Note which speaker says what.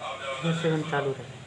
Speaker 1: कितने सेकंड चालू रहे